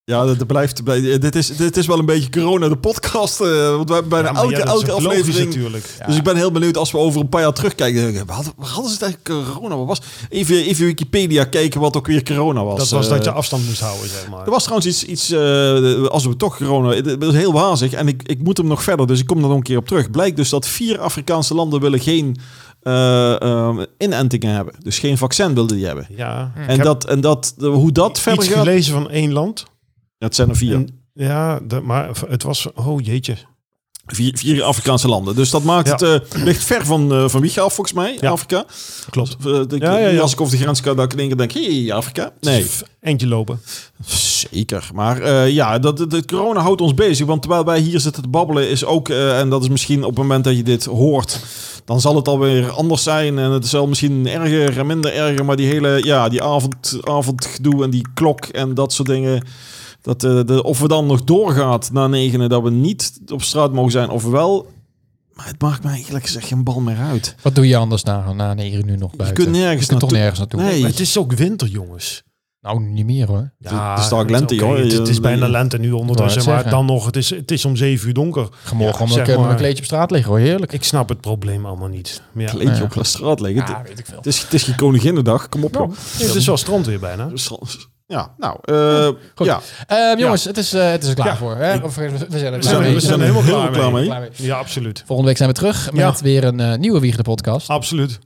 Speaker 3: Ja, dat, dat blijft, blijft- dit, is, dit is wel een beetje corona, de podcast. eh, want we hebben bijna
Speaker 2: Ja, maar
Speaker 3: elke,
Speaker 2: ja, dat is
Speaker 3: elke
Speaker 2: ook logisch
Speaker 3: aflevering...
Speaker 2: natuurlijk.
Speaker 3: Dus ik ben heel benieuwd als we over een paar jaar terugkijken. dan denk ik, Wat, wat hadden ze het eigenlijk corona? Wat was? Even, even Wikipedia kijken wat ook weer corona was.
Speaker 2: Dat was dat je
Speaker 3: Eh,
Speaker 2: afstand moest houden, zeg maar.
Speaker 3: Er was trouwens iets, iets eh, als we toch corona... Dat is heel wazig en ik, ik moet hem nog verder, dus ik kom daar nog een keer op terug. Blijkt dus dat vier Afrikaanse landen willen geen eh, eh, inentingen hebben. Dus geen vaccin wilden die hebben.
Speaker 2: Ja.
Speaker 3: En, dat, en dat, de- hoe dat
Speaker 2: Ik heb
Speaker 3: verder
Speaker 2: iets
Speaker 3: gaat...
Speaker 2: gelezen van één land.
Speaker 3: Dat zijn er vier.
Speaker 2: En- ja, dat, maar het was... Oh jeetje.
Speaker 3: vier. Vier Afrikaanse landen. Dus dat maakt
Speaker 2: Ja.
Speaker 3: het eh, ligt ver van, eh van Wiegen af, volgens mij,
Speaker 2: Ja.
Speaker 3: Afrika.
Speaker 2: Klopt.
Speaker 3: Eh, ik-
Speaker 2: Ja, ja, ja.
Speaker 3: Als ik over de grens kan, dan denk ik, denk, hey, Afrika. Nee.
Speaker 2: Eentje lopen.
Speaker 3: Zeker. Maar eh, ja, dat, dat, dat corona houdt ons bezig. Want terwijl wij hier zitten te babbelen, is ook, eh, en dat is misschien op het moment dat je dit hoort, dan zal het alweer anders zijn. En het zal misschien erger en minder erger. Maar die hele, ja, die avond, avondgedoe en die klok en dat soort dingen. Dat, eh, de, of we dan nog doorgaat na negenen, dat we niet op straat mogen zijn, of wel. Maar het maakt mij eerlijk gezegd geen bal meer uit.
Speaker 4: Wat doe je anders na, na negen uur nog buiten?
Speaker 3: kunt nergens
Speaker 4: Je kunt toch
Speaker 3: naartoe.
Speaker 4: nergens naartoe?
Speaker 3: Nee.
Speaker 2: Maar het is ook winter, jongens.
Speaker 4: Nou, niet meer hoor.
Speaker 3: het is toch ook
Speaker 2: het is
Speaker 3: lente,
Speaker 2: oké.
Speaker 3: joh.
Speaker 2: Het, het is
Speaker 3: Je-
Speaker 2: bijna lente nu
Speaker 4: wou
Speaker 2: ondertussen,
Speaker 4: het
Speaker 2: maar
Speaker 4: zeggen.
Speaker 2: dan nog, het is, het is om zeven uur donker.
Speaker 4: Gemorgen
Speaker 2: Ja,
Speaker 4: omdat ik
Speaker 2: zeg
Speaker 4: eh, met
Speaker 2: maar.
Speaker 4: mijn kleedje op straat liggen hoor. Heerlijk.
Speaker 2: Ik snap het probleem allemaal niet. Maar Ja.
Speaker 3: Kleedje op de straat liggen.
Speaker 4: Ja,
Speaker 3: Het-
Speaker 4: weet ik veel.
Speaker 3: het, is, het is geen koninginnedag. Kom op, joh.
Speaker 2: Het is wel strand weer bijna.
Speaker 3: Ja, nou, eh,
Speaker 4: Goed.
Speaker 3: ja.
Speaker 4: Ehm, jongens, het, is, eh, het is er klaar
Speaker 2: Ja.
Speaker 4: voor. Hè? Of, we we zijn er
Speaker 2: zijn-
Speaker 4: klaar mee.
Speaker 2: we zijn er helemaal klaar mee.
Speaker 4: Klaar mee.
Speaker 2: Ja, absoluut.
Speaker 4: Volgende week zijn we terug met
Speaker 2: Ja.
Speaker 4: weer een eh, nieuwe Wiegen de podcast.
Speaker 2: Absoluut.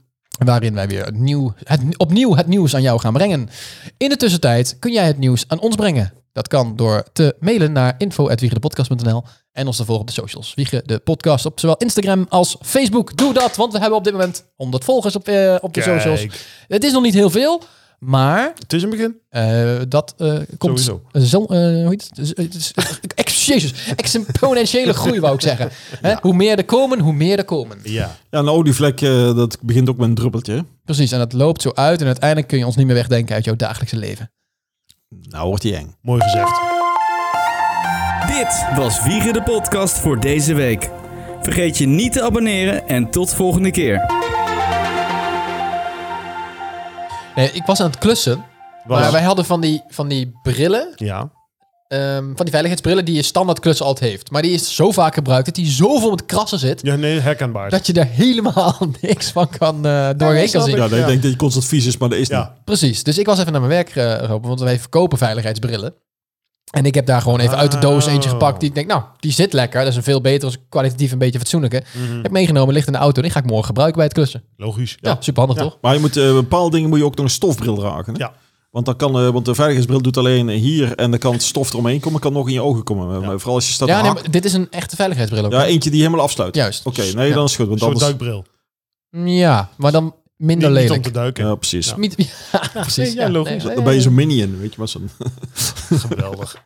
Speaker 4: Waarin wij weer het nieuw, het, opnieuw het nieuws aan jou gaan brengen. In de tussentijd kun jij het nieuws aan ons brengen. Dat kan door te mailen naar info.wiegendepodcast.nl en ons te volgen op de socials. Wiegen de podcast op zowel Instagram als Facebook. Doe dat, want we hebben op dit moment 100 volgers op, eh, op de
Speaker 2: Kijk.
Speaker 4: socials. Het is nog niet heel veel, maar
Speaker 2: Het is een begin.
Speaker 4: eh, dat eh, komt
Speaker 2: Sowieso.
Speaker 4: zo, eh, hoe heet het? Z- het is- ex- Jezus, exponentiële groei wou ik zeggen. Hè? Hoe meer er komen, hoe meer er komen.
Speaker 2: Ja.
Speaker 3: Ja, een olievlek, eh, dat begint ook met een druppeltje. hè?
Speaker 4: Precies, en dat loopt zo uit en uiteindelijk kun je ons niet meer wegdenken uit jouw dagelijkse leven.
Speaker 3: Nou wordt die eng.
Speaker 2: Mooi gezegd.
Speaker 1: Dit was Wiegen de Podcast voor deze week. Vergeet je niet te abonneren en tot volgende keer.
Speaker 4: Nee, ik was aan het klussen,
Speaker 2: Was-
Speaker 4: maar wij hadden van die, van die brillen,
Speaker 2: Ja.
Speaker 4: ehm, van die veiligheidsbrillen die je standaard klussen altijd heeft. Maar die is zo vaak gebruikt dat die zoveel met krassen zit,
Speaker 2: ja, nee, herkenbaar.
Speaker 4: dat je daar helemaal niks van kan eh doorheen kan
Speaker 2: snap
Speaker 4: zien.
Speaker 2: ik.
Speaker 3: Ja, dat
Speaker 2: Ja.
Speaker 3: ik denk dat je constant vies is, maar dat is niet.
Speaker 2: Ja.
Speaker 4: Precies. Dus ik was even naar mijn werk eh, gelopen, want wij verkopen veiligheidsbrillen. En ik heb daar gewoon even uit de doos eentje
Speaker 2: Oh.
Speaker 4: gepakt. Die ik denk, nou, die zit lekker. Dat is een veel betere, is kwalitatief een beetje fatsoenlijke. Heb meegenomen, ligt in de auto. En die ga ik morgen gebruiken bij het klussen.
Speaker 2: Logisch.
Speaker 4: Ja,
Speaker 2: Mhm. Ja.
Speaker 4: superhandig
Speaker 2: Ja.
Speaker 4: toch?
Speaker 3: Maar je moet, eh, bepaalde dingen moet je ook nog een stofbril dragen. Hè?
Speaker 2: Ja.
Speaker 3: Want, dan kan, eh, want de veiligheidsbril doet alleen hier en dan kan het stof eromheen komen. kan nog in je ogen komen. Eh, maar Vooral als je staat
Speaker 4: Ja,
Speaker 3: te
Speaker 4: nee,
Speaker 3: haken.
Speaker 4: maar dit is een echte veiligheidsbril ook.
Speaker 3: ja, eentje die helemaal afsluit.
Speaker 4: Juist.
Speaker 3: Oké, nee,
Speaker 4: Ja.
Speaker 3: dan is het goed. Want
Speaker 2: Zo'n
Speaker 3: anders,
Speaker 2: duikbril.
Speaker 4: Ja, maar dan minder
Speaker 2: Niet, niet om
Speaker 4: lelijk.
Speaker 2: te duiken.
Speaker 3: ja, precies.
Speaker 4: Niet- Ja, precies.
Speaker 2: ja, logisch.
Speaker 4: nee,
Speaker 3: Dan ben je zo'n minion, weet je wat zo'n...
Speaker 2: Geweldig.